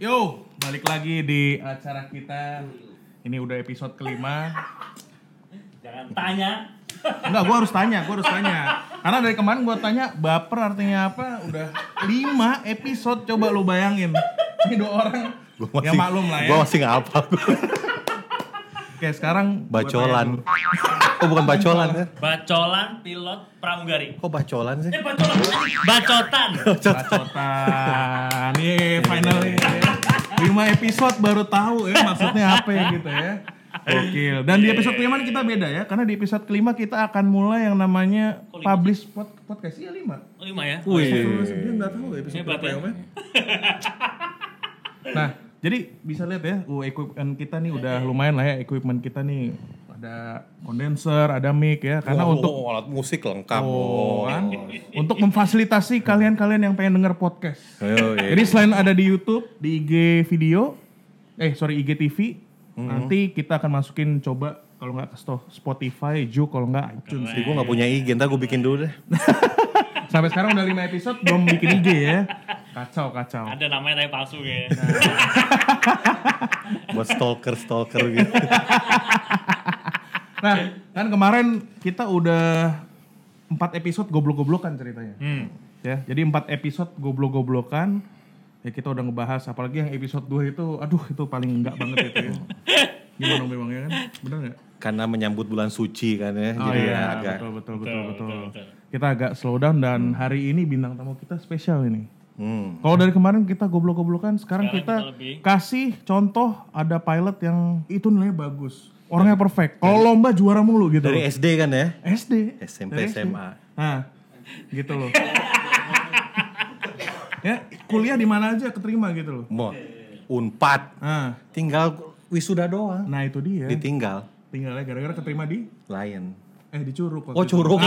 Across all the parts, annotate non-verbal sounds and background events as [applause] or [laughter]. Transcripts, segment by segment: Yo, balik lagi di acara kita. Ini udah episode kelima. Jangan tanya. Enggak, gua harus tanya, gua harus tanya. Karena dari kemarin gua tanya baper artinya apa? Udah lima episode coba lu bayangin. Ini dua orang. Gua ya maklum lah ya. Gua masih nggak apa. Oke, sekarang gua Bacolan. tanya dulu. Oh bukan bacolan ya? Bacolan pilot pramugari. Kok bacolan sih? Eh bacolan. Bacotan. Bacotan. Iya, Yeay, finally. Lima episode baru tahu ya maksudnya apa ya gitu ya. Gokil. Dan di episode kelima nih kita beda ya, karena di episode kelima kita akan mulai yang namanya publish pod- podcast. Iya lima. Oh, lima ya. Wih. Dia nggak tahu episode Hebat berapa ya. ya, Om, ya. [laughs] Nah, jadi bisa lihat ya, uh, equipment kita nih udah lumayan lah ya, equipment kita nih ada kondenser, ada mic ya, karena Wah, untuk wah, Oh, alat musik lengkap. Oh, kan? iya. untuk memfasilitasi kalian-kalian yang pengen denger podcast. Jadi selain ada di YouTube, di IG video, eh sorry IGTV, nanti kita akan masukin coba kalau nggak ke sto- Spotify, Ju kalau nggak iTunes. Jadi gue gak punya IG, ntar gue bikin dulu deh. Sampai sekarang udah 5 episode belum bikin IG ya. Kacau kacau. Ada namanya tapi palsu ya. kayaknya. Nah, Buat stalker-stalker gitu. Nah, kan kemarin kita udah 4 episode goblok-goblokan ceritanya. Hmm. Ya, jadi 4 episode goblok-goblokan. Ya kita udah ngebahas apalagi yang episode 2 itu aduh itu paling enggak banget itu [laughs] ya. Gimana memang ya kan? Benar enggak? Karena menyambut bulan suci kan ya. Oh Jadi iya, ya agak. betul, betul, betul, betul, betul, betul. Kita agak slow down dan hari ini bintang tamu kita spesial ini. Hmm. Kalau dari kemarin kita goblok-goblokan, sekarang, Sekarang kita, kita lebih- kasih contoh ada pilot yang itu nilainya bagus. Orangnya perfect. Kalau lomba juara mulu gitu. Dari SD kan ya? SD. SMP, SMA. Nah, gitu loh. ya, kuliah di mana aja keterima gitu loh. Mau. Unpad. Nah, Tinggal wisuda doang. nah itu dia. Ditinggal. Tinggalnya gara-gara keterima di Lion. eh di Curug. waktu Oh itu. Ah. curug.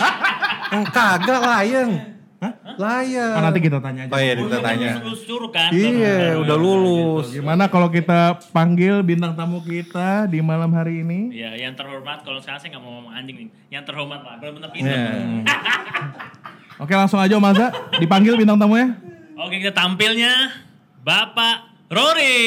[laughs] Yang kagak Lion. Hah? Lion. Ah, nanti kita tanya aja. Oh iya, kita tanya. Terus curug kan. Iya, udah lulus. Gimana kalau kita panggil bintang tamu kita di malam hari ini? Iya, yang terhormat kalau sekarang saya nggak mau ngomong anjing nih. Yang terhormat lah, benar-benar Iya. pinter. Oke, langsung aja Om Azza. Dipanggil bintang tamunya. Oke, kita tampilnya Bapak Rory.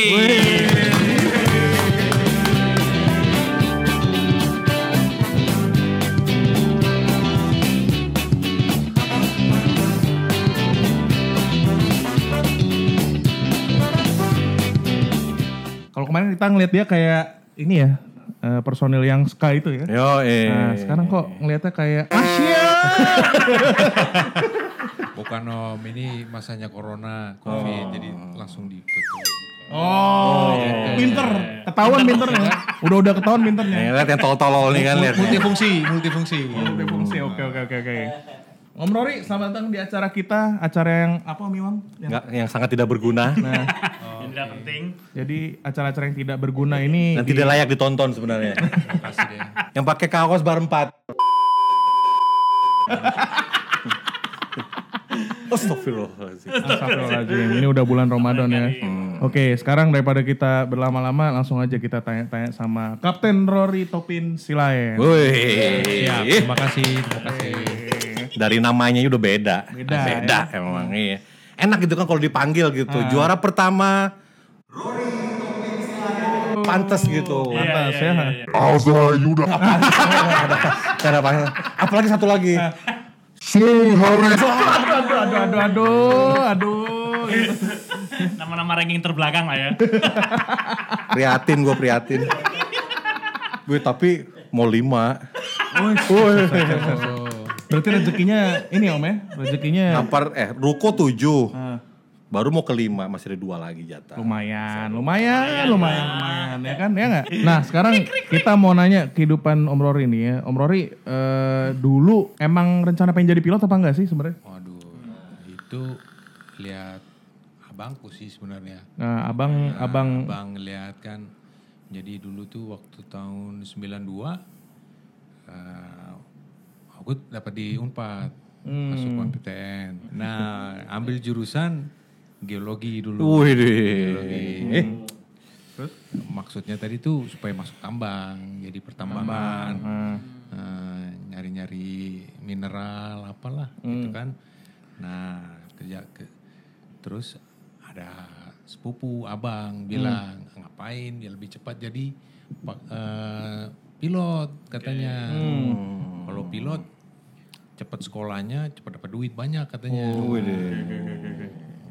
Kalau kemarin kita ngeliat dia kayak ini ya, eh, personil yang ska itu ya. Yo, eh. Nah, sekarang kok ngeliatnya kayak Asia. Bukan om, ini masanya corona, covid, jadi langsung ditutup. Oh, pinter. Iya, Ketahuan pinternya. Udah-udah ketahuan pinternya. Nih, lihat yang tol-tolol nih kan lihat. Multifungsi, multifungsi. Oke, fungsi. Oke, oke, oke, oke. Om Rory, selamat datang di acara kita. Acara yang apa, Om Iwang? Yang- eh, Nggak, yang sangat tidak berguna. Nah, Yang tidak penting. [laughs] Jadi acara-acara yang tidak berguna ini Dan tidak layak ditonton sebenarnya. Terima kasih deh. yang pakai kaos bar 4. Astagfirullahaladzim. Astagfirullahaladzim, ini udah bulan Ramadan ya. Oke, sekarang daripada kita berlama-lama, langsung aja kita tanya-tanya sama Kapten Rory Topin Silaen. Siap, Woi. terima kasih, terima kasih. Dari namanya udah beda. Beda, emang iya. Enak gitu kan kalau dipanggil gitu. Juara pertama Rory Pantes gitu. Pantas ya. Alza Yuda Cara panggil. Apalagi satu lagi. Sehari Aduh, aduh, aduh, aduh, aduh. Gitu. Nama-nama ranking terbelakang lah ya. Prihatin gue prihatin. Gue tapi mau lima. Berarti rezekinya ini om ya, rezekinya Nampar eh ruko tujuh. Baru mau kelima masih ada dua lagi jatah. lumayan, lumayan, lumayan, lumayan, ya kan, ya nggak? Nah sekarang kita mau nanya kehidupan Om Rory nih ya. Om Rory eh, dulu emang rencana pengen jadi pilot apa enggak sih sebenarnya? Waduh, itu lihat abangku sih sebenarnya. Nah abang, abang, Abang lihat kan, jadi dulu tuh waktu tahun 92, eh, aku dapat di Unpad, masuk UNPTN. Nah, ambil jurusan geologi dulu. Wih deh. Eh, Maksudnya tadi tuh supaya masuk tambang, jadi pertambangan, Eh, nyari-nyari mineral apalah gitu kan. Nah, kerja ke, terus ada sepupu abang bilang ngapain dia lebih cepat jadi pak- eh, pilot katanya. Kalau pilot cepat sekolahnya, cepat dapat duit banyak katanya.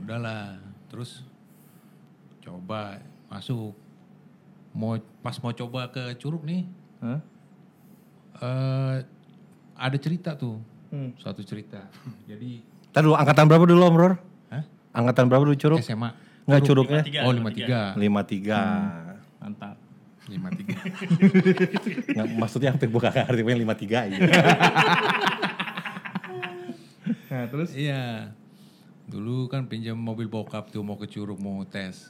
Udahlah, terus coba masuk. Mau pas mau coba ke Curug nih, Hah? eh ada cerita tuh. Satu cerita. Jadi Tadi dulu angkatan berapa dulu Om Ror? Hah? Angkatan berapa dulu curug? ya? SMA. Enggak curugnya? Oh, [laughs] 53. 53. Mantap. 53. Nggak, maksudnya hampir buka arti punya 53 aja. Nah, terus Iya. Dulu kan pinjam mobil bokap tuh mau ke Curug mau tes.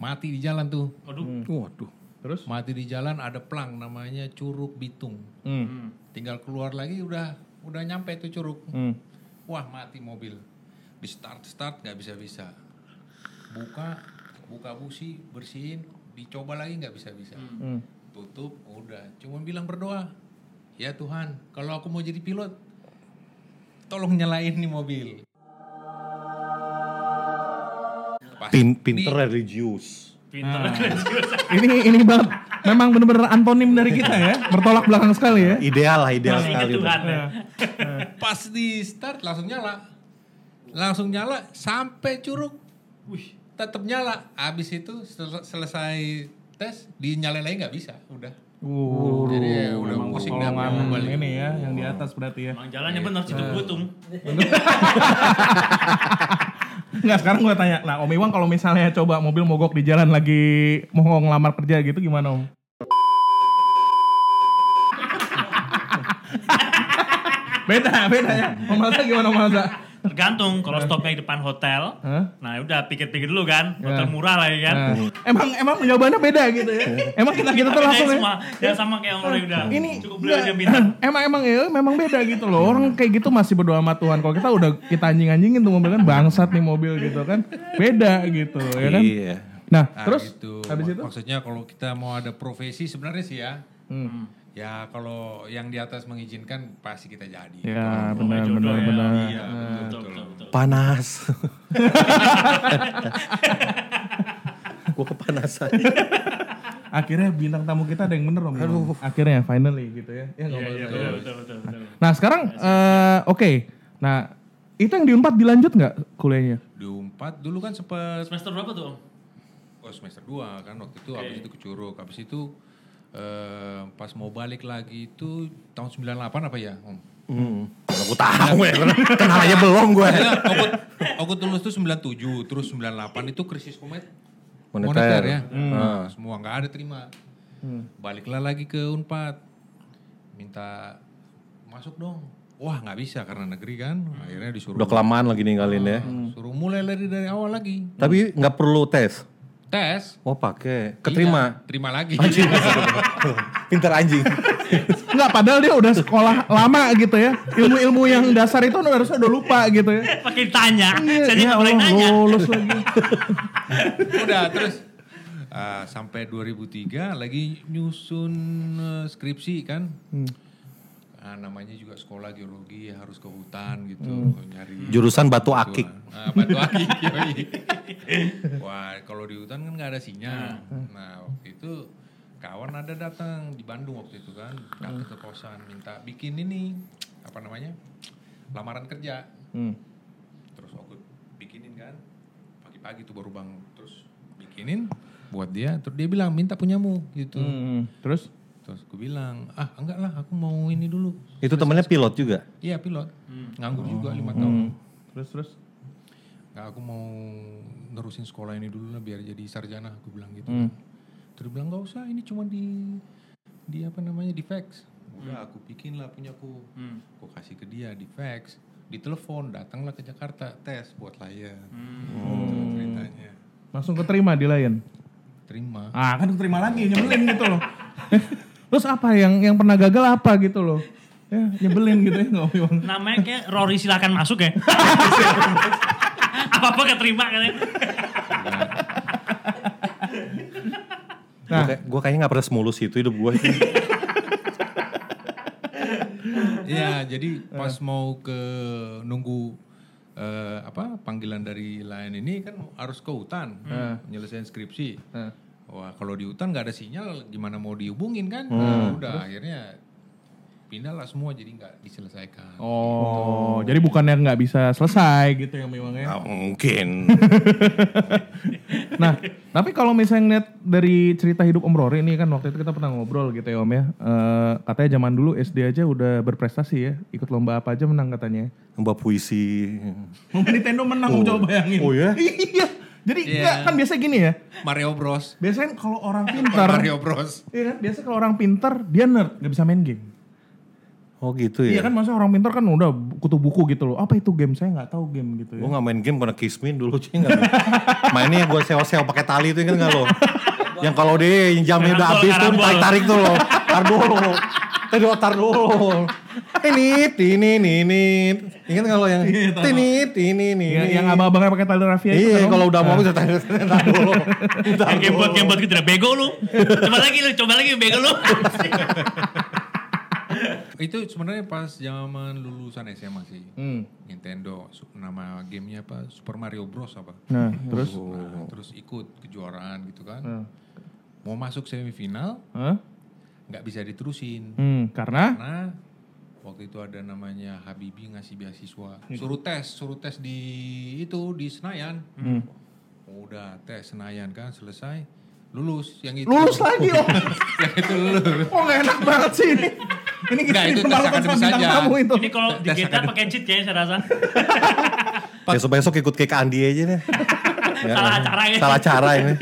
Mati di jalan tuh. Waduh. Waduh. terus Mati di jalan ada plang namanya Curug Bitung. Hmm, Tinggal keluar lagi udah udah nyampe tuh Curug. hmm, Wah, mati mobil. Di start start nggak bisa bisa. Buka buka busi bersihin dicoba lagi nggak bisa bisa. Hmm. Tutup udah. Cuman bilang berdoa. Ya Tuhan, kalau aku mau jadi pilot, tolong nyalain nih mobil. Pas- Pin, pinter religius. Pinter. Ah. [laughs] ini ini banget memang bener-bener antonim dari kita ya. Bertolak belakang sekali ya. Ideal lah, ideal Masih ingat sekali. Tuhan. ya. Pas di start langsung nyala. Langsung nyala sampai curug. Wih, tetap nyala. Abis itu sel- selesai tes dinyalain lagi nggak bisa, udah. Wuh, Jadi ya udah pusing dah Kolongan balik. ini ya yang di atas berarti ya. Emang Iya. jalannya benar situ Ah. butung. Enggak, sekarang gue tanya. Nah, Om Iwang kalau misalnya coba mobil mogok di jalan lagi mau ngelamar kerja gitu gimana, Om? [laughs] beda, beda ya. Om Alsa gimana, Om Alsa? Tergantung kalau stopnya di depan hotel. Iya. Hah? Iya. Nah, udah pikir-pikir dulu kan. Hotel murah lagi Nah, kan. emang emang jawabannya beda gitu ya. Emang kita kita tuh Tapi langsung kayak ya. semua, ya sama kayak Om Roy udah. Ini cukup beliau aja bintang. enggak. [laughs] emang emang ya, memang beda gitu loh. Orang kayak gitu masih berdoa sama Tuhan. Kalau kita udah kita anjing-anjingin tuh mobil kan bangsat nih mobil gitu kan. Beda gitu ya kan. Iya. Nah, Nah, terus gitu. habis Mak- itu maksudnya kalau kita mau ada profesi sebenarnya sih ya. Hmm. Hmm, Ya kalau yang di atas mengizinkan pasti kita jadi. Ya, benar jodoh benar ya. benar. Iya, Nah, betul, betul. Panas. [laughs] Gue kepanasan. Akhirnya bintang tamu kita ada yang bener Om. Akhirnya finally gitu ya. Ya nggak apa-apa. Betul, betul, betul, betul. Nah, sekarang eh, oke. Nah, itu yang diempat dilanjut nggak kuliahnya? Di Unpad dulu kan sempat Semester berapa tuh Om? Oh semester 2 kan waktu itu habis itu ke Curug, habis itu eh, pas mau balik lagi itu tahun 98 apa ya? Om? Hmm. Gue tahu ya, kenal aja belum gue. Saya aku, aku tulus tuh 97, terus 98 itu krisis komet Moneter. ya. Hmm. Nah, Semua nggak ada terima. Baliklah lagi ke Unpad. Minta masuk dong. Wah, nggak bisa karena negeri kan. Akhirnya disuruh Udah kelamaan lagi ninggalin ya. suruh mulai dari dari awal lagi. Tapi nggak perlu tes. Tes. Oh pakai. Keterima. Iya, terima lagi. Pinter anjing. Enggak, padahal dia udah sekolah lama gitu ya. Ilmu-ilmu yang dasar itu harusnya udah lupa gitu ya. Pakai ditanya. Jadi ya nggak boleh Allah, nanya. lulus lagi. Udah terus ah, sampai 2003 lagi nyusun eh, skripsi kan. Ah, namanya juga sekolah geologi ya harus ke hutan gitu nyari Jurusan batu akik. Ah, batu akik. [laughs] yoi. Wah, kalau di hutan kan nggak ada sinyal. Nah, waktu itu kawan ada datang di Bandung waktu itu kan, datang ke kosan minta bikin ini apa namanya? lamaran kerja. Terus aku bikinin kan. Pagi-pagi tuh baru bang terus bikinin buat dia, terus dia bilang minta punyamu gitu. Hmm. Terus Terus aku bilang, "Ah, enggak lah, aku mau ini dulu." Itu temennya pilot juga. Iya, pilot. Nganggur juga lima tahun. terus terus Nggak, aku mau nerusin sekolah ini dulu lah biar jadi sarjana aku bilang gitu. Terus dia bilang nggak usah ini cuma di di apa namanya di fax. Udah aku bikin lah punya aku. Aku kasih ke dia di fax, di telepon datanglah ke Jakarta tes buat layan. Gitu ceritanya. langsung keterima di lain. Terima. Ah, kan keterima lagi nyebelin gitu loh. terus apa yang yang pernah gagal apa gitu loh. Ya, nyebelin gitu ya nggak Om Namanya kayak Rory silakan masuk ya. [laughs] Apa-apa keterima kan ya. Nah. Gue kayaknya nggak pernah semulus itu hidup gue. Ya, [laughs] Eh. Iya, jadi pas mau ke nunggu eh, apa panggilan dari lain ini kan harus ke hutan Eh. menyelesaikan skripsi. Wah kalau di hutan nggak ada sinyal gimana mau dihubungin Eh. kan? Nah, udah akhirnya pindahlah semua jadi nggak diselesaikan. Oh, jadi bukannya nggak bisa selesai gitu ya memang ya. Nah, mungkin. Nah, tapi kalau misalnya ngeliat dari cerita hidup Om Rory ini kan waktu itu kita pernah ngobrol gitu ya Om ya. Eh, katanya zaman dulu SD aja udah berprestasi ya, ikut lomba apa aja menang katanya. Mbak puisi. Nintendo menang Om coba bayangin. Oh ya? Iya. Jadi nggak, kan biasa gini ya. Mario Bros. Biasanya kalau orang pintar, Mario Bros. iya kan? Biasa kalau orang pintar dia nerd, nggak bisa main game. Oh gitu Iya kan ya. maksudnya orang pintar kan udah kutu buku gitu loh. Apa itu game? Saya nggak tahu game gitu ya. Gue gak main game karena kismin dulu cuy gak Mainnya gue sewa-sewa pakai tali itu kan gak lo Yang kalau dia yang jamnya udah Karambol, habis tuh karambol. tarik-tarik tuh lo Tar dulu Tuh tar dulu Tinit, ini, ini Ingat gak lo yang Tinit, ini, ini Yang, yang abang-abangnya pakai tali rafia itu kan, Iya Om? kalau udah mau bisa tarik Tar dulu Tar Yang gamebot dulu. gamebot gitu dah bego lu. Coba lagi lu, coba lagi bego [laughs] lu. Itu sebenarnya pas zaman lulusan SMA sih. Hmm. Nintendo su- nama gamenya apa Super Mario Bros apa Nah, Hmm. terus Eh. Nah, terus ikut kejuaraan gitu kan mau masuk semifinal Hah? nggak bisa diterusin Hmm, karena karena waktu itu ada namanya Habibi ngasih beasiswa Gitu. suruh tes suruh tes di itu di Senayan Hmm. udah tes Senayan kan selesai lulus yang itu lulus lagi Om. [laughs] yang itu lulus Oh nggak enak banget sih ini. Ini kita Nggak, itu tes dipermalukan sama akademis bintang aja. tamu itu. Ini kalau di GTA pakai cheat kayaknya saya rasa. Besok-besok ikut kayak Andi aja deh Ya. Salah acara ya. Salah cara ini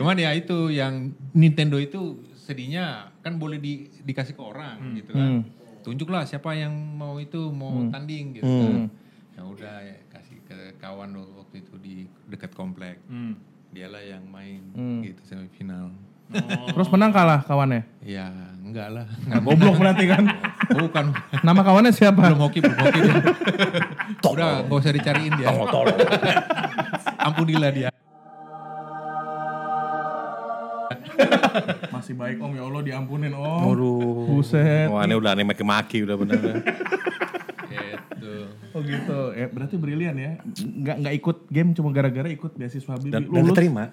cuman ya itu yang Nintendo itu sedihnya kan boleh di- dikasih ke orang Hmm. gitu kan tunjuklah siapa yang mau itu mau tanding gitu kan ya udah ya, kasih ke kawan dulu waktu itu di dekat komplek Hmm. dialah yang main gitu semifinal Terus menang kalah kawannya. ya enggak [laughs] lah enggak Goblok berarti kan. bukan Nama kawannya siapa? belum hoki belum hoki dia. udah gak usah dicariin dia ampunilah dia Masih baik Om, ya Allah diampunin Om. Waduh Buset. Wah ini udah aneh maki-maki udah bener gitu Oh gitu. Ya, berarti brilian ya. Nggak nggak ikut game cuma gara-gara ikut beasiswa bibi. Dan, dan Lulus. keterima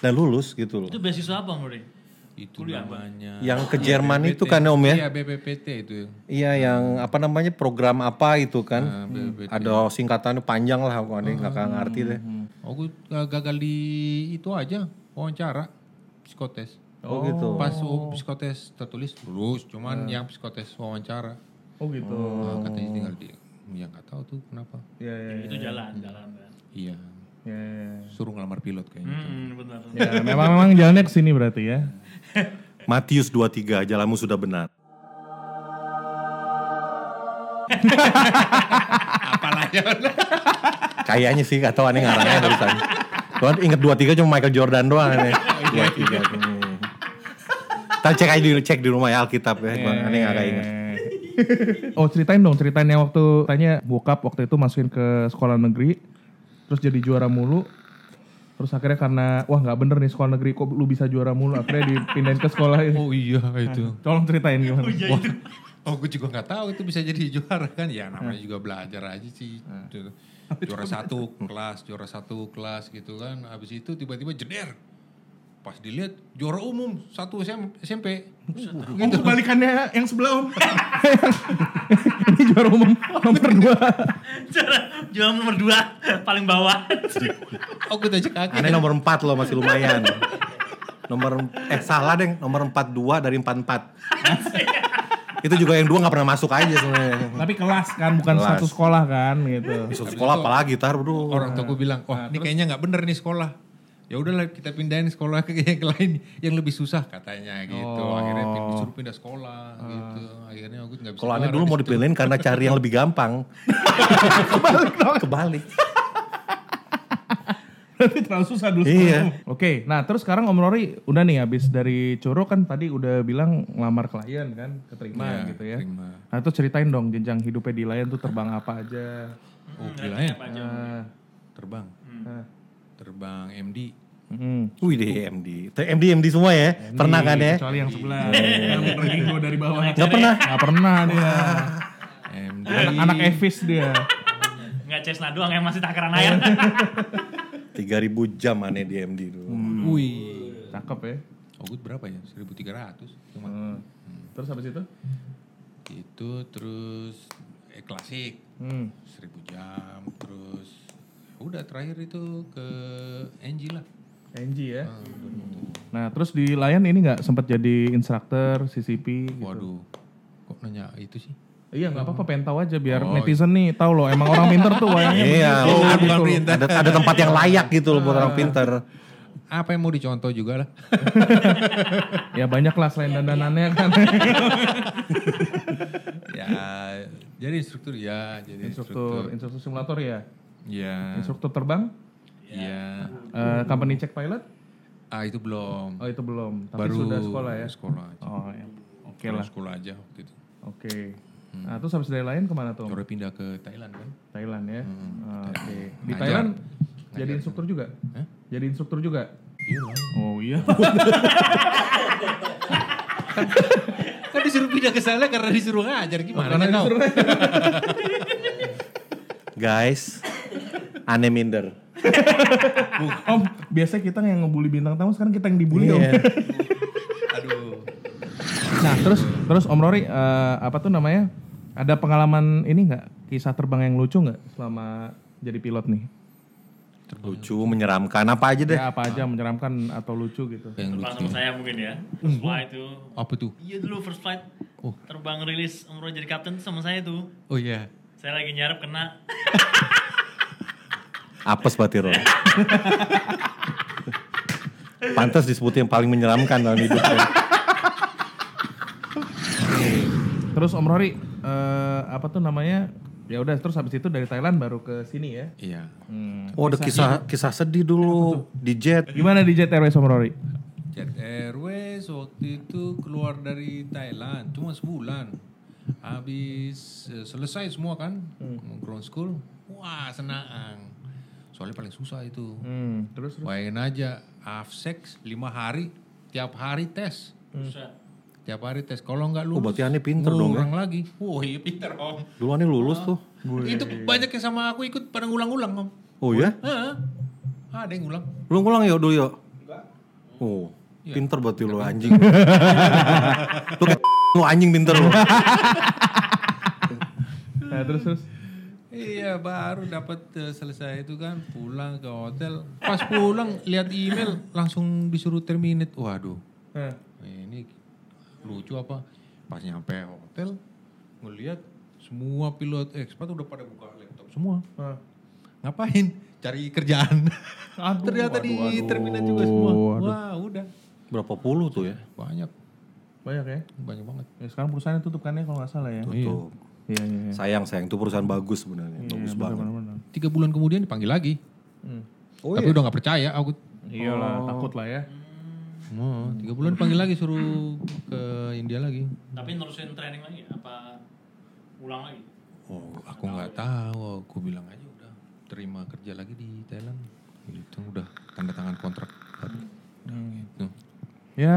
Dan lulus gitu loh Itu beasiswa apa, Muri? itu namanya Yang ke Jerman itu kan om ya Iya BPPT itu. Iya yang apa namanya program apa itu Nah, kan BPPT. ada singkatannya panjang lah aku aneh nggak ngerti deh. Aku uh, gagal di itu aja wawancara psikotes. Oh, gitu. Pas u- psikotes tertulis lulus, cuman yang psikotes wawancara Oh gitu. uh, katanya tinggal di ya nggak tahu tuh kenapa. Iya iya. Itu jalan, jalan. kan. Iya, iya, iya. suruh ngelamar pilot kayaknya. Hmm, [laughs] benar. Ya, memang memang jalannya ke sini berarti ya. Matius 23 jalanmu sudah benar. Apalah ya. Kayaknya sih nggak tahu aneh ngarangnya tulisan. Tuhan inget 23 cuma Michael Jordan doang aneh. 23 ini. Ntar cek aja di cek di rumah ya Alkitab ya. Gua aneh nggak kayak inget. Oh ceritain dong ceritain yang waktu tanya bokap waktu itu masukin ke sekolah negeri terus jadi juara mulu terus akhirnya karena wah nggak bener nih sekolah negeri kok lu bisa juara mulu akhirnya dipindahin ke sekolah ini. Oh iya itu. Tolong ceritain gimana? Wah, [laughs] oh gue juga nggak tahu itu bisa jadi juara kan ya namanya juga belajar aja sih Ju- juara satu kelas juara satu kelas gitu kan habis itu tiba-tiba jeder pas dilihat juara umum satu SM SMP Gitu. Om Oh, kebalikannya yang sebelah om. [laughs] ini juara umum nomor dua. Cara jual nomor dua paling bawah. oh gue aja kaget Aneh nomor 4 loh masih lumayan. Nomor eh salah deh nomor 42 dari 44. Itu juga yang dua nggak pernah masuk aja sebenarnya. Tapi kelas kan bukan Kelas. satu sekolah kan gitu. Besok sekolah apalagi tar bro. orang tua gue bilang wah ini kayaknya nggak bener nih sekolah ya udahlah kita pindahin sekolah ke yang lain yang lebih susah katanya gitu akhirnya pin- disuruh pindah sekolah gitu akhirnya gue nggak bisa Kalau aneh keluar dulu mau dari situ. dipilihin karena cari yang lebih gampang. Kebalik dong. Kebalik. Berarti terlalu susah dulu. Iya. Oke, nah terus sekarang Om Rory udah nih habis dari Coro kan tadi udah bilang ngelamar klien kan, keterima Iya, gitu ya. terima. Nah itu ceritain dong jenjang hidupnya di Lion tuh terbang apa aja. oh gila ya Apa aja? Nah, terbang terbang MD mm, Wih deh MD. Tuh, MD MD semua ya. Pernah kan ya? Kecuali yang sebelah, yang Ringo dari bawah. Iya. Gak pernah. Gak pernah dia. MD Anak, anak Evis dia. Enggak Nggak Cessna doang yang masih takaran air. [laughs] 3000 jam aneh di MD dulu. Wih. Cakep ya. Ogut berapa ya? 1300 cuma. Hmm. Terus habis itu? Itu terus eh, klasik Hmm. 1000 jam terus udah terakhir itu ke Enji lah. NG ya. Nah terus di Lion ini nggak sempat jadi instruktur CCP? gitu? Waduh. Kok nanya itu sih? Iya nggak apa-apa pengen tahu aja biar Oh, netizen nih tahu loh emang orang pinter tuh wayangnya. Iya, begitu. lo Gitu bukan loh. pinter. Ada, ada tempat yang layak gitu loh buat orang pinter. Apa yang mau dicontoh juga lah. Ya banyak lah selain dandanannya kan. [laughs] ya, jadi instruktur ya, jadi instruktur, instruktur simulator ya. Ya. Instruktur terbang, Ya. eh, company check pilot. Ah itu belum. Oh itu belum, tapi Baru sudah sekolah ya. Sekolah. aja. Oh ya. Oke Baru lah. Sekolah aja waktu itu. Oke. Nah terus habis dari Lion kemana tuh? Sore pindah ke Thailand kan. Thailand ya. Ah, Oke. Di Ngajar. Thailand jadi instruktur juga. Jadi instruktur juga. Oh iya. Kan disuruh pindah ke sana karena disuruh ngajar gimana Karena kan kau? disuruh- Guys, aneh minder. Om, biasanya kita yang ngebully bintang tamu, sekarang kita yang dibully om. Iya. Aduh. Nah terus terus Om Rory eh, apa tuh namanya? Ada pengalaman ini nggak? Kisah terbang yang lucu nggak selama jadi pilot nih? Lucu, menyeramkan, apa aja deh. Ya apa aja menyeramkan atau lucu gitu? Yang Terbang lucu. sama saya mungkin ya. First flight itu. Apa tuh? Iya dulu first flight. Oh. Terbang rilis Om Roy jadi kapten tuh sama saya tuh. Oh iya. Saya lagi nyarap kena. Apes berarti Ron. Pantas disebut yang paling menyeramkan dalam hidupnya. Terus Om Rory eh, apa tuh namanya? Ya udah terus habis itu dari Thailand baru ke sini ya. Iya. Oh ada kisah kisah sedih dulu di jet. Gimana di Jet Airways Om Rory? Jet Airways waktu itu keluar dari Thailand cuma sebulan. Habis eh, selesai semua kan Hmm. ground school. Wah, senang. Soalnya paling susah itu. Hmm, terus terus. Bayangin aja afsex 5 hari tiap hari tes. Buset. Tiap hari tes. Kalau nggak Oh, lulus. berarti Ane pinter dong ya? Ngurang lagi. Wah, iya pinter, Om. Dulu aneh lulus tuh. Itu banyak yang sama aku ikut pada ngulang-ulang, Om. Oh ya? Heeh. Ada yang ngulang. Lu ngulang yuk dulu yuk. Oh, pinter berarti lu anjing. lu kayak [laughs] lu anjing pinter lu. Nah, terus terus. Iya baru dapat eh, selesai itu kan pulang ke hotel. Pas pulang lihat email langsung disuruh terminate. Waduh Nah, Eh, ini lucu apa? Pas nyampe hotel ngelihat semua pilot ekspat udah pada buka laptop semua. nah. Ngapain? Cari kerjaan. Aduh, [laughs] Ternyata di aduh, aduh. terminal juga semua. Aduh. Wah udah Berapa puluh tuh ya? banyak Banyak ya. banyak banget. Ya, sekarang perusahaannya tutup kan ya kalau nggak salah ya. Tuh. Iya iya. iya. Sayang sayang itu perusahaan bagus sebenarnya. Bagus banget. Benar-benar. Tiga bulan kemudian dipanggil lagi. Hmm. Oh, Tapi iya? udah nggak percaya aku. Iyalah, takut lah ya. Wah, tiga bulan dipanggil lagi suruh ke India lagi. Tapi nerusin training lagi apa ulang lagi? Oh, aku nggak tahu. Aku bilang aja udah terima kerja lagi di Thailand. Itu udah tanda tangan kontrak baru. Gitu. Ya,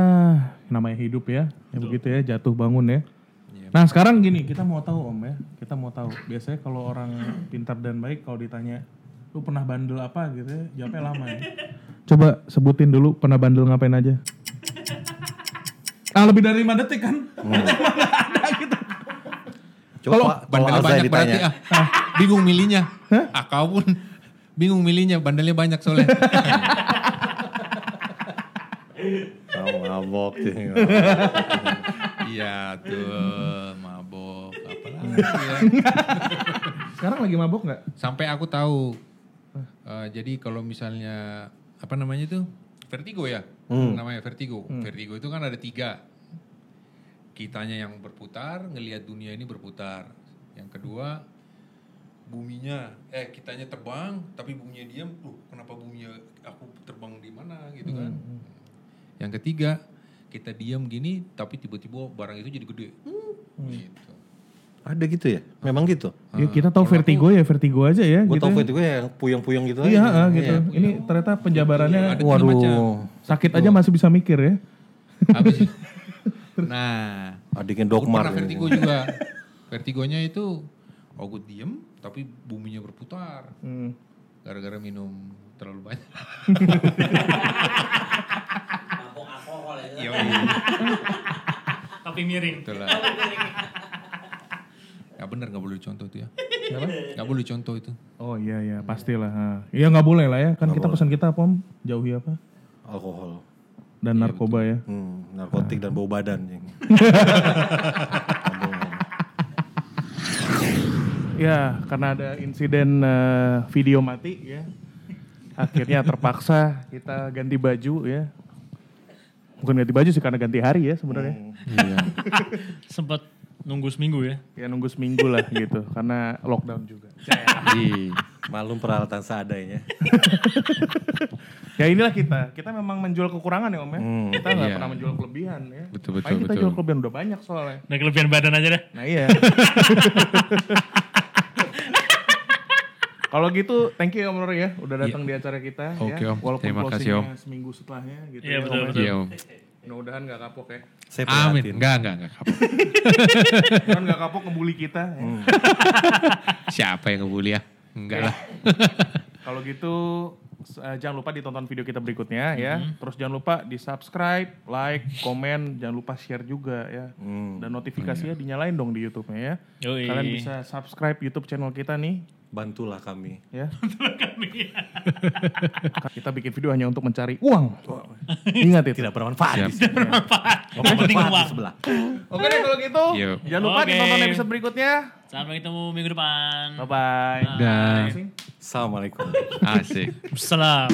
namanya hidup ya. Ya begitu ya, jatuh bangun ya. Nah sekarang gini, kita mau tahu om ya, kita mau tahu. Biasanya kalau orang pintar dan baik kalau ditanya, lu pernah bandel apa gitu ya, jawabnya lama ya. Coba sebutin dulu pernah bandel ngapain aja. Nah lebih dari 5 detik kan? Coba kalau Bandelnya Alza banyak berarti ditanya. ah. bingung milihnya. Ah, kau pun bingung milihnya. Bandelnya banyak soalnya. Tahu mabok. Iya tuh mabok apalah. ya. Sekarang lagi mabok nggak? Sampai aku tahu. Eh, jadi kalau misalnya apa namanya itu vertigo ya namanya vertigo. Vertigo itu kan ada tiga. Kitanya yang berputar, ngelihat dunia ini berputar. Yang kedua buminya eh kitanya terbang tapi buminya diam. Loh, kenapa buminya aku terbang di mana gitu kan. Yang ketiga kita diam gini tapi tiba-tiba barang itu jadi gede. Gitu. Ada gitu ya? Memang gitu. Ya kita tahu vertigo ya, vertigo aja ya. Gue gitu. tau itu gue yang puyeng-puyeng gitu Iya, aja. ah, gitu. Ini ternyata penjabarannya Ada tiga macam. Waduh. sakit aja masih bisa mikir ya. Habis Nah, itu- Nah, Adiknya aku Dokmar. pernah ini. vertigo juga. Vertigonya itu aku diem tapi buminya berputar Hmm. gara-gara minum terlalu banyak Mabok alkohol ya. Iya, Tapi miring. betul lah ya bener nggak boleh contoh itu ya nggak boleh contoh itu Oh iya iya pastilah. ha. Iya nggak boleh lah ya kan kita pesan kita pom jauhi apa alkohol Iya, dan narkoba ya. hmm, narkotik dan bau badan Jing. Ya karena ada insiden eh, video mati ya akhirnya terpaksa kita ganti baju ya. Bukan ganti baju sih karena ganti hari ya sebenarnya. iya Sempet nunggu seminggu ya. Ya nunggu seminggu [laughs] lah gitu karena lockdown juga. Ih, malum peralatan seadanya Ya inilah kita. Kita memang menjual kekurangan ya Om ya. Hmm, kita nggak iya. pernah menjual kelebihan ya. Betul, betul, Makanya kita betul. jual kelebihan udah banyak soalnya. Udah kelebihan badan aja deh. Nah [laughs] iya. Kalau gitu, thank you Om Rory ya, udah datang di acara kita. Iya. Oke, ya. Om. Walaupun Terima kasih, closingnya Seminggu setelahnya gitu. Iya, ya, Om, betul, ya. betul. [laughs] iya om Mudah-mudahan nggak kapok ya. saya amin prihatin. enggak enggak enggak Mudah-mudahan nggak kapok ngebully kita. ya. Hmm. siapa yang ngebully ya enggak lah Kalau gitu s- eh, jangan lupa ditonton video kita berikutnya ya. Hmm. Terus jangan lupa di subscribe, like, komen, jangan lupa share juga ya. Hmm. Dan Iya. notifikasinya dinyalain dong di YouTube-nya ya. Yoi. Kalian bisa subscribe YouTube channel kita nih bantulah kami ya. Kan kita bikin video hanya untuk mencari uang. Ingat itu. tidak bermanfaat di sini. Yang penting Bermanfaat uang. di sebelah Oke deh kalau gitu. Yo. Jangan lupa Oke. ditonton episode berikutnya. Sampai ketemu minggu depan. Bye bye. dan assalamualaikum asik Salam.